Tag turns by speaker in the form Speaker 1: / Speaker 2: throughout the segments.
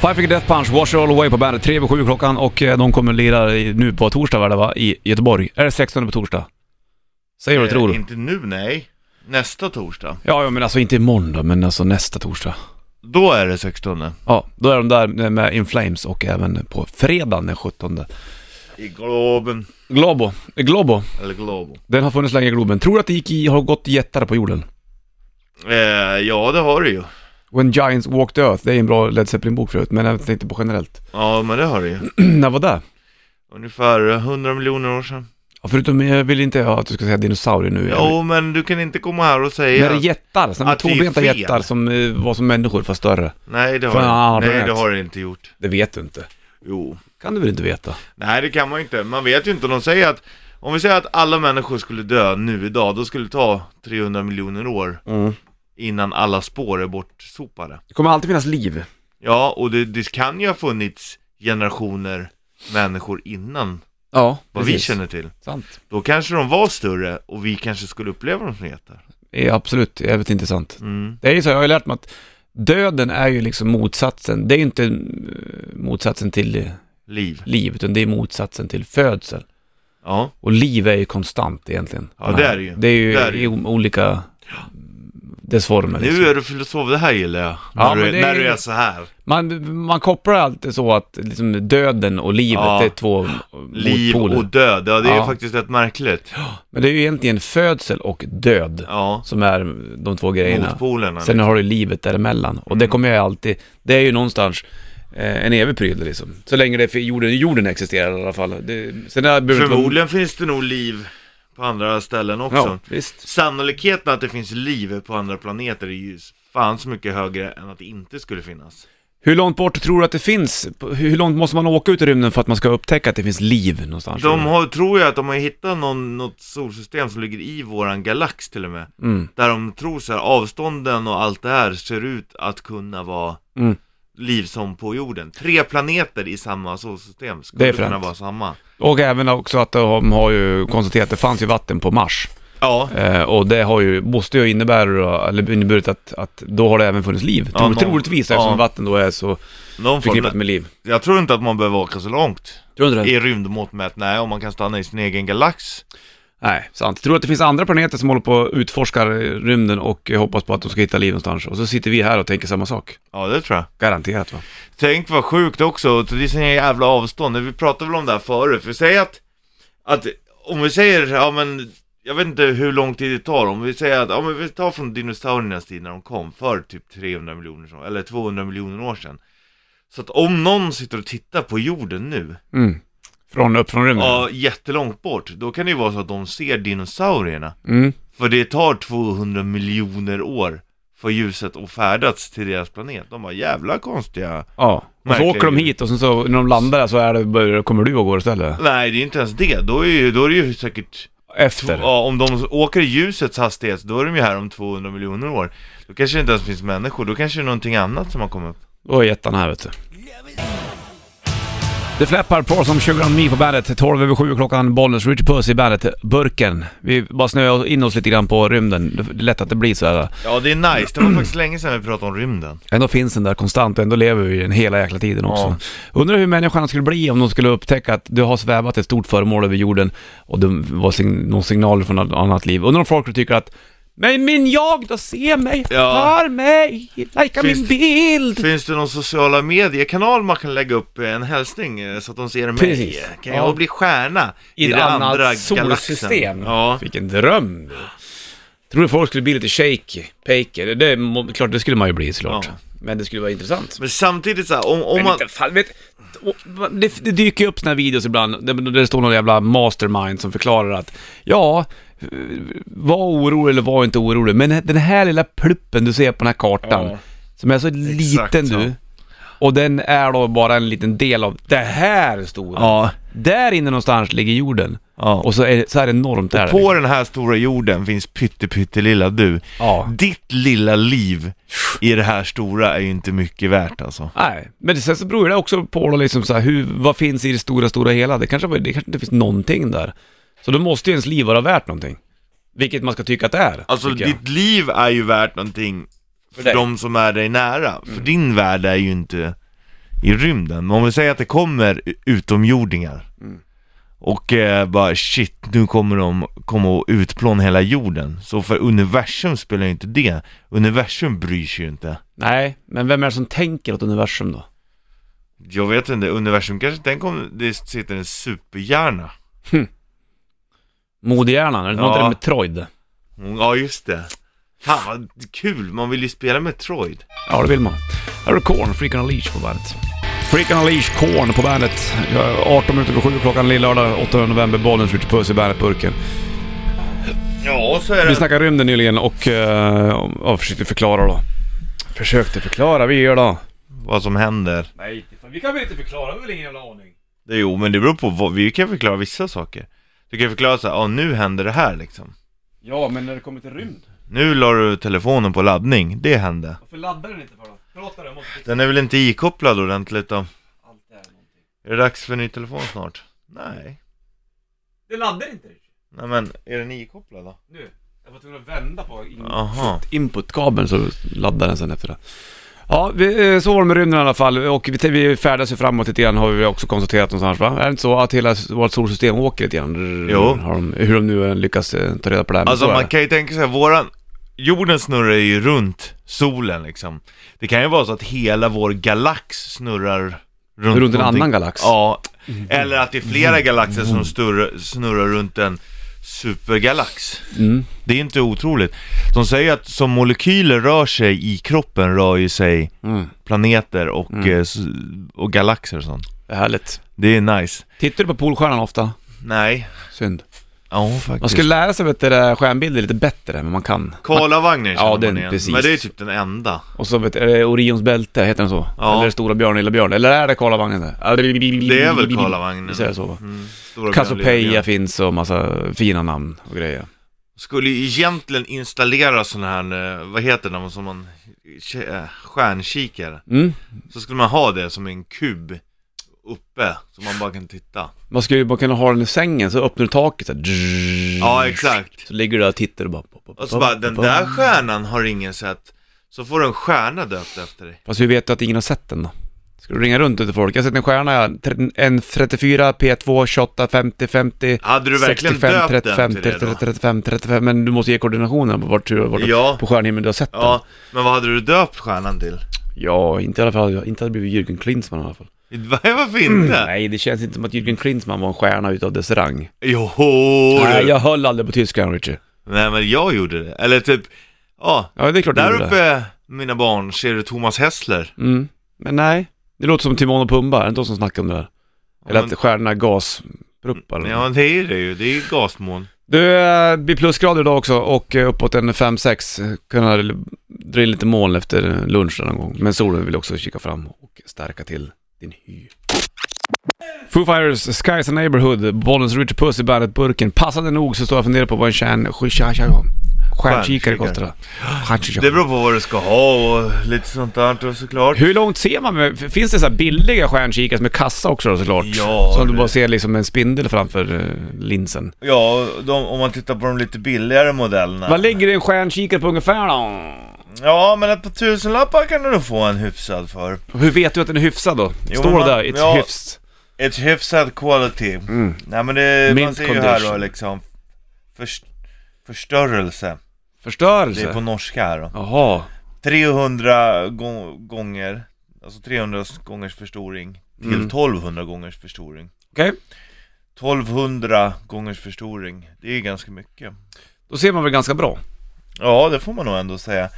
Speaker 1: Five Finger Death Punch, Wash It All Away på bandet. 3 över 7 klockan och eh, de kommer lira i- nu på torsdag var det va? I Göteborg. Är det 16 på torsdag? Säger vad du
Speaker 2: Eh,
Speaker 1: tror.
Speaker 2: Inte nu, nej. Nästa torsdag.
Speaker 1: Ja, ja, men alltså inte imorgon då, men alltså nästa torsdag.
Speaker 2: Då är det 16.
Speaker 1: Ja, då är de där med In Flames och även på fredagen den 17.
Speaker 2: I Globen.
Speaker 1: Globo, eh, Globo,
Speaker 2: Eller Globo.
Speaker 1: den har funnits länge i Globen. Tror du att det gick i, har gått jättare på jorden?
Speaker 2: Eh, ja, det har det ju.
Speaker 1: When Giants Walked the Earth, det är en bra Led Zeppelin-bok förut, men jag tänkte på generellt.
Speaker 2: Ja, men det har det ju.
Speaker 1: När var det?
Speaker 2: Ungefär 100 miljoner år sedan.
Speaker 1: Ja, förutom, jag vill inte att du ska säga dinosaurier nu.
Speaker 2: Jo, men du kan inte komma här och
Speaker 1: Men
Speaker 2: säga...
Speaker 1: det är jättar, såna här
Speaker 2: Att det är
Speaker 1: tvåbenta
Speaker 2: fel.
Speaker 1: jättar som eh, var som människor fast större.
Speaker 2: Nej, det har,
Speaker 1: Fan, har
Speaker 2: det.
Speaker 1: du
Speaker 2: Nej,
Speaker 1: rätt?
Speaker 2: det har det inte gjort.
Speaker 1: Det vet du inte.
Speaker 2: Jo.
Speaker 1: Kan du väl inte veta?
Speaker 2: Nej, det kan man ju inte. Man vet ju inte. De säger att... Om vi säger att alla människor skulle dö nu idag, då skulle det ta 300 miljoner år
Speaker 1: Mm.
Speaker 2: innan alla spår är bortsopade.
Speaker 1: Det kommer alltid finnas liv.
Speaker 2: Ja, och det, det kan ju ha funnits generationer människor innan
Speaker 1: Ja,
Speaker 2: vad vi
Speaker 1: precis.
Speaker 2: känner till.
Speaker 1: Sant.
Speaker 2: Då kanske de var större och vi kanske skulle uppleva dem som jättar.
Speaker 1: Ja, absolut, jävligt intressant.
Speaker 2: Mm.
Speaker 1: Det är ju så, jag har ju lärt mig att döden är ju liksom motsatsen. Det är ju inte eh, motsatsen till eh,
Speaker 2: Liv.
Speaker 1: liv, utan det är motsatsen till födsel.
Speaker 2: Ja,
Speaker 1: Och liv är ju konstant egentligen.
Speaker 2: Ja, det är det ju.
Speaker 1: Det är ju
Speaker 2: Det är det
Speaker 1: i
Speaker 2: ju.
Speaker 1: o- olika dess former. liksom.
Speaker 2: nu är du filosof, det här gillar jag. När,
Speaker 1: Ja,
Speaker 2: du,
Speaker 1: men det är
Speaker 2: när
Speaker 1: ju-
Speaker 2: du är så här.
Speaker 1: Man, man kopplar alltid så att liksom döden och livet
Speaker 2: Ja.
Speaker 1: är två
Speaker 2: Liv
Speaker 1: motpoler.
Speaker 2: och död, ja det är
Speaker 1: Ja.
Speaker 2: faktiskt rätt märkligt.
Speaker 1: Men det är ju egentligen födsel och död
Speaker 2: Ja,
Speaker 1: som är de två grejerna.
Speaker 2: motpolerna. liksom. Mm.
Speaker 1: Sen har du livet däremellan. Och det kommer jag alltid, det är ju någonstans eh, en evig prydnad liksom. Så länge det, jorden, jorden existerar i alla fall. Det, sen där behöver det inte
Speaker 2: Förmodligen finns det nog liv på andra ställen också.
Speaker 1: vara- Ja, visst.
Speaker 2: Sannolikheten att det finns liv på andra planeter är ju fan så mycket högre än att det inte skulle finnas.
Speaker 1: Hur långt bort tror du att det finns? Hur långt måste man åka ut i rymden för att man ska upptäcka att det finns liv någonstans?
Speaker 2: De har, tror jag att de har hittat någon, något solsystem som ligger i våran galax till och med.
Speaker 1: Mm.
Speaker 2: Där de tror så här, avstånden och allt det här ser ut att kunna vara
Speaker 1: Mm.
Speaker 2: liv som på jorden. Tre planeter i samma solsystem skulle
Speaker 1: Det är
Speaker 2: kunna
Speaker 1: fränt.
Speaker 2: vara samma.
Speaker 1: Och även också att de har ju konstaterat att det fanns ju vatten på Mars.
Speaker 2: Ja,
Speaker 1: Eh, och det har ju, måste ju innebära, eller inneburit att, att då har det även funnits liv.
Speaker 2: Ja,
Speaker 1: Tro,
Speaker 2: någon-
Speaker 1: troligtvis eftersom
Speaker 2: ja.
Speaker 1: vatten då är så
Speaker 2: någon
Speaker 1: förknippat
Speaker 2: form.
Speaker 1: med liv.
Speaker 2: Jag tror inte att man behöver åka så långt.
Speaker 1: Tror du inte det?
Speaker 2: I rymdmått mätt, nej, om man kan stanna i sin egen galax.
Speaker 1: Nej, sant. Tror du att det finns andra planeter som håller på och utforskar rymden och eh, hoppas på att de ska hitta liv någonstans? Och så sitter vi här och tänker samma sak.
Speaker 2: Ja, det tror jag.
Speaker 1: Garanterat va?
Speaker 2: Tänk vad sjukt också, det är sån jävla avstånd, vi pratade väl om det här förut, för säg att, att om vi säger, ja men, jag vet inte hur lång tid det tar, om vi säger att, ja men vi tar från dinosauriernas tid när de kom, för typ 300 miljoner år, eller 200 miljoner år sedan. Så att om någon sitter och tittar på jorden nu,
Speaker 1: Mm. Från, upp från rymden?
Speaker 2: ja jättelångt bort, då kan det ju vara så att de ser dinosaurierna.
Speaker 1: Mm.
Speaker 2: För det tar 200 miljoner år för ljuset att färdats till deras planet. De bara, jävla konstiga
Speaker 1: Ja. Och så
Speaker 2: Märkliga
Speaker 1: åker de
Speaker 2: djur.
Speaker 1: hit och sen så när de landar så är det, börjar- kommer du och går istället.
Speaker 2: Nej, det är inte ens det. Då är, ju, då är det ju säkert...
Speaker 1: Efter.
Speaker 2: Ja, om de åker i ljusets hastighet, då är de ju här om 200 miljoner år. Då kanske det inte ens finns människor, då kanske det är någonting annat som har kommit upp.
Speaker 1: Då är jättarna här vet du. Det fläppar på som Sugar on Me på bandet. 12 över 7 klockan, Bollnäs, Richard Puss i bandet, Burken. Vi bara snöar in oss lite grann på rymden. Det är lätt att det blir så här.
Speaker 2: Ja, det är nice. Det var faktiskt länge sedan vi pratade om rymden.
Speaker 1: Ändå finns den där konstant och ändå lever vi i den hela jäkla tiden också. Undrar hur människan skulle bli om de skulle upptäcka att du har svävat ett stort föremål över jorden och det var sign- någon signal från något annat liv. Undrar om folk skulle tycka att men min jag då, se mig,
Speaker 2: Ja.
Speaker 1: hör mig, likea
Speaker 2: Finns
Speaker 1: min
Speaker 2: det-
Speaker 1: bild.
Speaker 2: Finns det någon sociala mediekanal man kan lägga upp en hälsning eh, så att de ser mig?
Speaker 1: Precis.
Speaker 2: Kan
Speaker 1: Ja.
Speaker 2: jag bli stjärna
Speaker 1: I
Speaker 2: i,
Speaker 1: ett
Speaker 2: det
Speaker 1: annat
Speaker 2: andra
Speaker 1: solsystem.
Speaker 2: galaxen? Ja.
Speaker 1: Vilken dröm! Tror du folk skulle bli lite shaky, pejker? Det, är må- klart, det skulle man ju bli såklart.
Speaker 2: Ja.
Speaker 1: Men det skulle vara intressant.
Speaker 2: Men samtidigt så här, om, om
Speaker 1: Men
Speaker 2: man...
Speaker 1: inte fan, vet, och- det, det dyker ju upp såna här videos ibland där där det står någon jävla mastermind som förklarar att ja, eh, var orolig eller var inte orolig, men den här lilla pluppen du ser på den här kartan,
Speaker 2: Ja.
Speaker 1: som är så liten
Speaker 2: så.
Speaker 1: du, och den är då bara en liten del av det här stora.
Speaker 2: Ja.
Speaker 1: Där inne någonstans ligger jorden.
Speaker 2: Ja.
Speaker 1: Och så är, så är det enormt där.
Speaker 2: På den här stora jorden finns pyttepyttelilla du.
Speaker 1: Ja.
Speaker 2: Ditt lilla liv i det här stora är ju inte mycket värt alltså.
Speaker 1: Nej, men det, sen så beror det också på då liksom så här, hur, vad finns i det stora, stora hela? Det kanske, var- det kanske inte finns någonting där. Så då måste ju ens liv vara värt någonting. Vilket man ska tycka att det är.
Speaker 2: Alltså
Speaker 1: tycker jag.
Speaker 2: ditt liv är ju värt någonting för,
Speaker 1: dig. Mm.
Speaker 2: de som är dig nära. För din värld är ju inte i rymden. Men om vi säger att det kommer utomjordingar
Speaker 1: Mm.
Speaker 2: och eh, bara shit, nu kommer de komma och utplåna hela jorden. Så för universum spelar ju inte det. Universum bryr sig ju inte.
Speaker 1: Nej, men vem är det som tänker åt universum då?
Speaker 2: Jag vet inte, universum kanske, tänk om det sitter en superhjärna.
Speaker 1: Modehjärnan, är det
Speaker 2: Ja.
Speaker 1: något där med Troid?
Speaker 2: Ja, just det. Fan vad kul, man vill ju spela med Troid.
Speaker 1: Ja, det vill man. Här har du Korn, Freak on a Leash på bandet. Freak on a Leash, Korn på bandet. Jag är 18 minuter över 7 klockan lillördag 8 november, bollen skjuter puss i bandet-burken.
Speaker 2: Ja, så är
Speaker 1: Vi
Speaker 2: det.
Speaker 1: snackade rymden nyligen och uh, ja, försökte förklara då. Försökte förklara, vi gör då.
Speaker 2: Vad som händer.
Speaker 1: Nej, vi kan väl inte förklara, vi har väl ingen jävla aning.
Speaker 2: Det, jo, men det beror på vad, vi kan förklara vissa saker. Du kan förklara så här, ja nu händer det här liksom.
Speaker 1: Ja, men när det kommer till rymd,
Speaker 2: Nu la du telefonen på laddning, det hände.
Speaker 1: varför laddar den inte för då? Prata den, måste
Speaker 2: Den är väl inte ikopplad ordentligt då?
Speaker 1: allt det här någonting.
Speaker 2: Är det dags för ny telefon snart? Nej.
Speaker 1: Det laddar inte
Speaker 2: Nej men, är den ikopplad då?
Speaker 1: nu. Jag var tvungen att vända på
Speaker 2: Aha.
Speaker 1: inputkabeln så laddar den sen efter det. Ja, vi, eh, så var det med rymden i alla fall och vi, vi färdas ju framåt lite grann har vi också konstaterat någonstans va? Är det inte så att hela s- vårt solsystem åker lite grann?
Speaker 2: Jo.
Speaker 1: Har de, hur de nu än lyckas eh, ta reda på det här. men
Speaker 2: Alltså
Speaker 1: så är
Speaker 2: man
Speaker 1: det.
Speaker 2: kan ju tänka sig, våran... Jorden snurrar ju runt solen liksom. Det kan ju vara så att hela vår galax snurrar runt,
Speaker 1: Runt en
Speaker 2: någonting.
Speaker 1: annan galax?
Speaker 2: Ja, eller att det är flera galaxer som snurrar, snurrar runt en supergalax.
Speaker 1: Mm.
Speaker 2: Det är inte otroligt. De säger att som molekyler rör sig i kroppen rör ju sig
Speaker 1: Mm.
Speaker 2: planeter och, eh, s- och galaxer och sånt.
Speaker 1: Det är härligt.
Speaker 2: Det är nice.
Speaker 1: Tittar du på Polstjärnan ofta?
Speaker 2: Nej.
Speaker 1: Synd.
Speaker 2: Ja, faktiskt.
Speaker 1: Man skulle lära sig vet du, det där stjärnbilder lite bättre än vad man kan.
Speaker 2: Karlavagnen känner
Speaker 1: Ja,
Speaker 2: man
Speaker 1: den-
Speaker 2: igen.
Speaker 1: precis.
Speaker 2: Men det är typ den enda.
Speaker 1: Och så vet du, är det Orions bälte, heter den så?
Speaker 2: Ja.
Speaker 1: Eller Stora Björn, Lilla Björn? Eller är det Karlavagnen?
Speaker 2: Det
Speaker 1: Det
Speaker 2: är väl Karlavagnen?
Speaker 1: Visst är det så va?
Speaker 2: Mm. Stora
Speaker 1: Cassiopeia
Speaker 2: Björn.
Speaker 1: finns och massa fina namn och grejer.
Speaker 2: Skulle ju egentligen installera sån här, eh, vad heter det, som man, eh, stjärnkikare.
Speaker 1: Mm.
Speaker 2: Så skulle man ha det som en kub uppe, så man bara kan titta.
Speaker 1: Man skulle ju bara kunna ha den i sängen, så öppnar du taket så här, drrrr.
Speaker 2: Ja, exakt.
Speaker 1: Så ligger du där och tittar och bara...
Speaker 2: Och så bara, den där stjärnan har ingen sett. Så får du en stjärna döpt efter dig.
Speaker 1: Fast hur vet du att ingen har sett den då? Ska du ringa runt ute till folk? Jag har sett en stjärna, ja. Tre- en 34, P2, 28, 50, 50.
Speaker 2: Hade du verkligen
Speaker 1: 65,
Speaker 2: döpt
Speaker 1: 35,
Speaker 2: den till
Speaker 1: 35,
Speaker 2: det då?
Speaker 1: 35, 35, men du måste ge koordinationen på vart du vart
Speaker 2: Ja.
Speaker 1: på stjärnhimlen du har sett den.
Speaker 2: Ja, men vad hade du döpt stjärnan till?
Speaker 1: Ja, inte i alla fall, inte hade det blivit Jürgen Klinsmann i alla fall.
Speaker 2: Va- Varför inte?
Speaker 1: Nej, det känns inte som att Jürgen Klinsmann var en stjärna utav dess rang.
Speaker 2: Joho!
Speaker 1: Nej,
Speaker 2: du.
Speaker 1: jag höll aldrig på tyskan, Richie.
Speaker 2: Nej men jag gjorde det. Eller typ, ja,
Speaker 1: Ja, det är klart du
Speaker 2: där
Speaker 1: gjorde det.
Speaker 2: uppe mina barn ser du Thomas Hessler.
Speaker 1: Mm. Men nej, det låter som Timon och Pumba, är det inte de som snackar om det där? Eller
Speaker 2: men-
Speaker 1: att stjärnorna gaspruppar eller
Speaker 2: Ja
Speaker 1: något.
Speaker 2: det är det ju, det är ju gasmoln.
Speaker 1: Du, eh, blir plusgrader idag också och eh, uppåt en 5-6. Kunna dra in lite moln efter lunch någon gång. Men solen vill också kika fram och stärka till din hy. Foo Fighters, Skies and Neighborhood, Bollens Richard Puss i bandet-burken. Passande nog så står jag och funderar på vad en stjärn... stjär- stjär- Stjärnkikare
Speaker 2: Stjärnkikare.
Speaker 1: kostar.
Speaker 2: Det
Speaker 1: Stjärnkikare.
Speaker 2: beror på vad du ska ha och lite sånt där såklart.
Speaker 1: Hur långt ser man? Med, finns det så här billiga stjärnkikare som är kassa också då såklart?
Speaker 2: Ja,
Speaker 1: Som du
Speaker 2: det-
Speaker 1: bara ser liksom en spindel framför eh, linsen.
Speaker 2: Ja, de, om man tittar på de lite billigare modellerna.
Speaker 1: Vad ligger en stjärnkikare på ungefär då?
Speaker 2: Ja, men ett par tusenlappar kan du nog få en hyfsad för.
Speaker 1: Hur vet du att den är hyfsad då?
Speaker 2: Jo,
Speaker 1: Står det
Speaker 2: men-
Speaker 1: där, it's
Speaker 2: ja.
Speaker 1: hyfsad?
Speaker 2: Ett hyfsad quality.
Speaker 1: Mm.
Speaker 2: Nej men det, man
Speaker 1: Mint
Speaker 2: ser ju här då
Speaker 1: condition.
Speaker 2: liksom först, Förstörelse, det
Speaker 1: Förstörelse?
Speaker 2: är på norska här då
Speaker 1: Jaha.
Speaker 2: 300 gå- gånger, alltså 300 gångers förstoring till
Speaker 1: Mm.
Speaker 2: 1200 gångers förstoring
Speaker 1: Okej.
Speaker 2: 1200 gångers förstoring, det är ju ganska mycket
Speaker 1: Då ser man väl ganska bra?
Speaker 2: Ja det får man nog ändå säga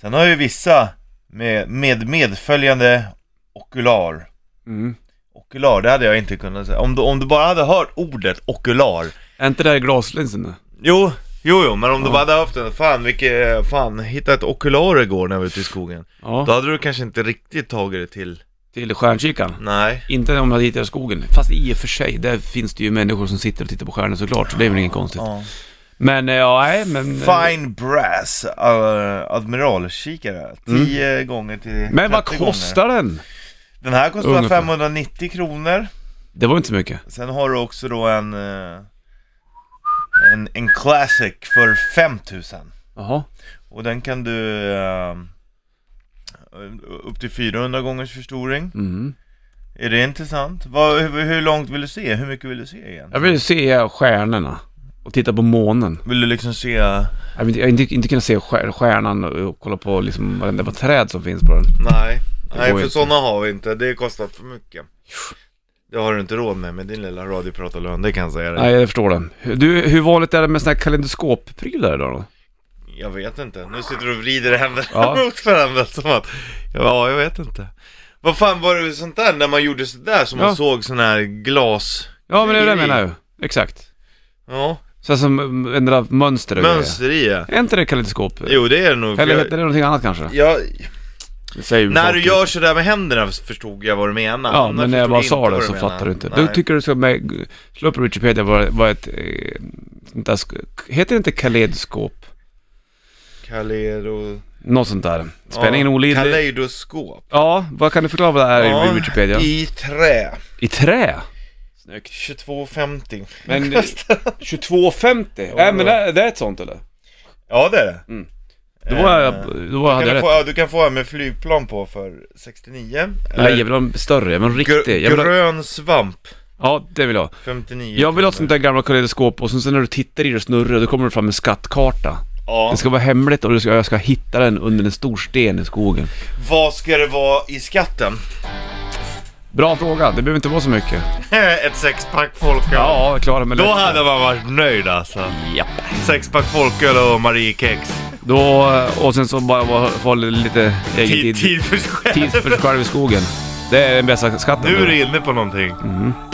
Speaker 2: Sen har ju vissa med, med medföljande okular
Speaker 1: Mm.
Speaker 2: Okular, det hade jag inte kunnat säga Om du, om du bara hade hört ordet okular
Speaker 1: Är inte det där glaslinsen nu?
Speaker 2: Jo, jo, jo, men om du bara hade haft en, fan vilket, fan, hittade ett okular igår när jag var ute i skogen.
Speaker 1: Ja.
Speaker 2: Då hade du kanske inte riktigt tagit det till,
Speaker 1: Till stjärnkikaren?
Speaker 2: nej.
Speaker 1: Inte om jag hittar i skogen. Fast i och för sig, där finns det ju människor som sitter och tittar på stjärnor såklart. Så det är väl inget konstigt.
Speaker 2: Ja.
Speaker 1: Men eh, ja, nej men... eh,
Speaker 2: Fine Brass, uh, admiralkikare. 10 gånger till
Speaker 1: Mm. Men vad
Speaker 2: 30 gånger.
Speaker 1: kostar den?
Speaker 2: Den här kostar
Speaker 1: Ungefär.
Speaker 2: 590 kronor.
Speaker 1: Det var inte så mycket.
Speaker 2: Sen har du också då en, eh, en, en Classic för 5000.
Speaker 1: Jaha.
Speaker 2: Och den kan du, eh, upp till 400 gångers förstoring.
Speaker 1: Mm.
Speaker 2: Är det intressant? Vad, hur, hur långt vill du se? Hur mycket vill du se igen?
Speaker 1: Jag vill se stjärnorna och titta på månen.
Speaker 2: Vill du liksom se...
Speaker 1: Jag vill inte- jag vill inte, inte kunna se stjär- stjärnan och och kolla på liksom varenda vad träd som finns på den.
Speaker 2: Nej,
Speaker 1: går
Speaker 2: nej för
Speaker 1: inte.
Speaker 2: sådana har vi inte. Det kostar för mycket. Det har du inte råd med med din lilla radiopratarlön, det kan jag säga dig.
Speaker 1: Nej, jag förstår det. Hur- Du, hur vanligt är det med såna här kalendoskopprylar idag då?
Speaker 2: Jag vet inte, nu sitter du och vrider händerna
Speaker 1: Ja.
Speaker 2: mot varandra som att... Ja, jag vet inte. Vad fan var det sånt där när man gjorde sådär som
Speaker 1: Ja.
Speaker 2: man såg sån här glas...
Speaker 1: Ja, men det är det jag menar ju. Exakt.
Speaker 2: Ja,
Speaker 1: Så här som eh, ändra mönster och grejer.
Speaker 2: mönster i ja.
Speaker 1: Är inte det kalendoskop?
Speaker 2: Jo det är det nog. för
Speaker 1: Eller
Speaker 2: jag-
Speaker 1: heter det någonting annat kanske?
Speaker 2: jag,
Speaker 1: Det säger ju
Speaker 2: när
Speaker 1: folk.
Speaker 2: du gör sådär med händerna förstod jag vad du menar.
Speaker 1: Ja, men när jag bara sa det så fattar
Speaker 2: fattar
Speaker 1: du inte. Du tycker du ska med, slå upp Wikipedia vad, vad ett, eh, sånt där, sk- heter det inte kaleidoskop?
Speaker 2: Kalero...
Speaker 1: Något sånt där. Spänningen
Speaker 2: ja,
Speaker 1: olidlig.
Speaker 2: Kaleidoskop.
Speaker 1: Ja, vad kan du förklara vad det är i Wikipedia? I,
Speaker 2: I trä.
Speaker 1: trä?
Speaker 2: 22,50.
Speaker 1: Men 22,50? Nej men det, det är ett sånt eller?
Speaker 2: Ja det är det.
Speaker 1: Mm. Då var jag,
Speaker 2: Eh,
Speaker 1: då var jag
Speaker 2: Kan
Speaker 1: hade
Speaker 2: du,
Speaker 1: rätt.
Speaker 2: få, ja, du kan få en med flygplan på för 69.
Speaker 1: Nej jag vill ha en större, jag vill ha en riktig. Jag vill ha,
Speaker 2: grön svamp,
Speaker 1: ja det vill jag ha.
Speaker 2: 59.
Speaker 1: Jag vill ha ett sånt där gamla kaleidoskop och sen, sen när du tittar i det och snurrar då kommer det fram en skattkarta.
Speaker 2: Ja.
Speaker 1: Det ska vara hemligt och du ska, jag ska hitta den under en stor sten i skogen.
Speaker 2: Vad ska det vara i skatten?
Speaker 1: Bra fråga, det behöver inte vara så mycket.
Speaker 2: Ett sexpack folköl.
Speaker 1: Ja, jag klarar mig
Speaker 2: Då
Speaker 1: lätt.
Speaker 2: hade man varit nöjd alltså.
Speaker 1: Japp.
Speaker 2: Sexpack folköl och Mariekex.
Speaker 1: Då, och sen så bara vara- få lite egen
Speaker 2: Tid,
Speaker 1: tid.
Speaker 2: tid för sig själv.
Speaker 1: Tid för sig själv i skogen. Det är den bästa skatten.
Speaker 2: Nu är du inne på någonting.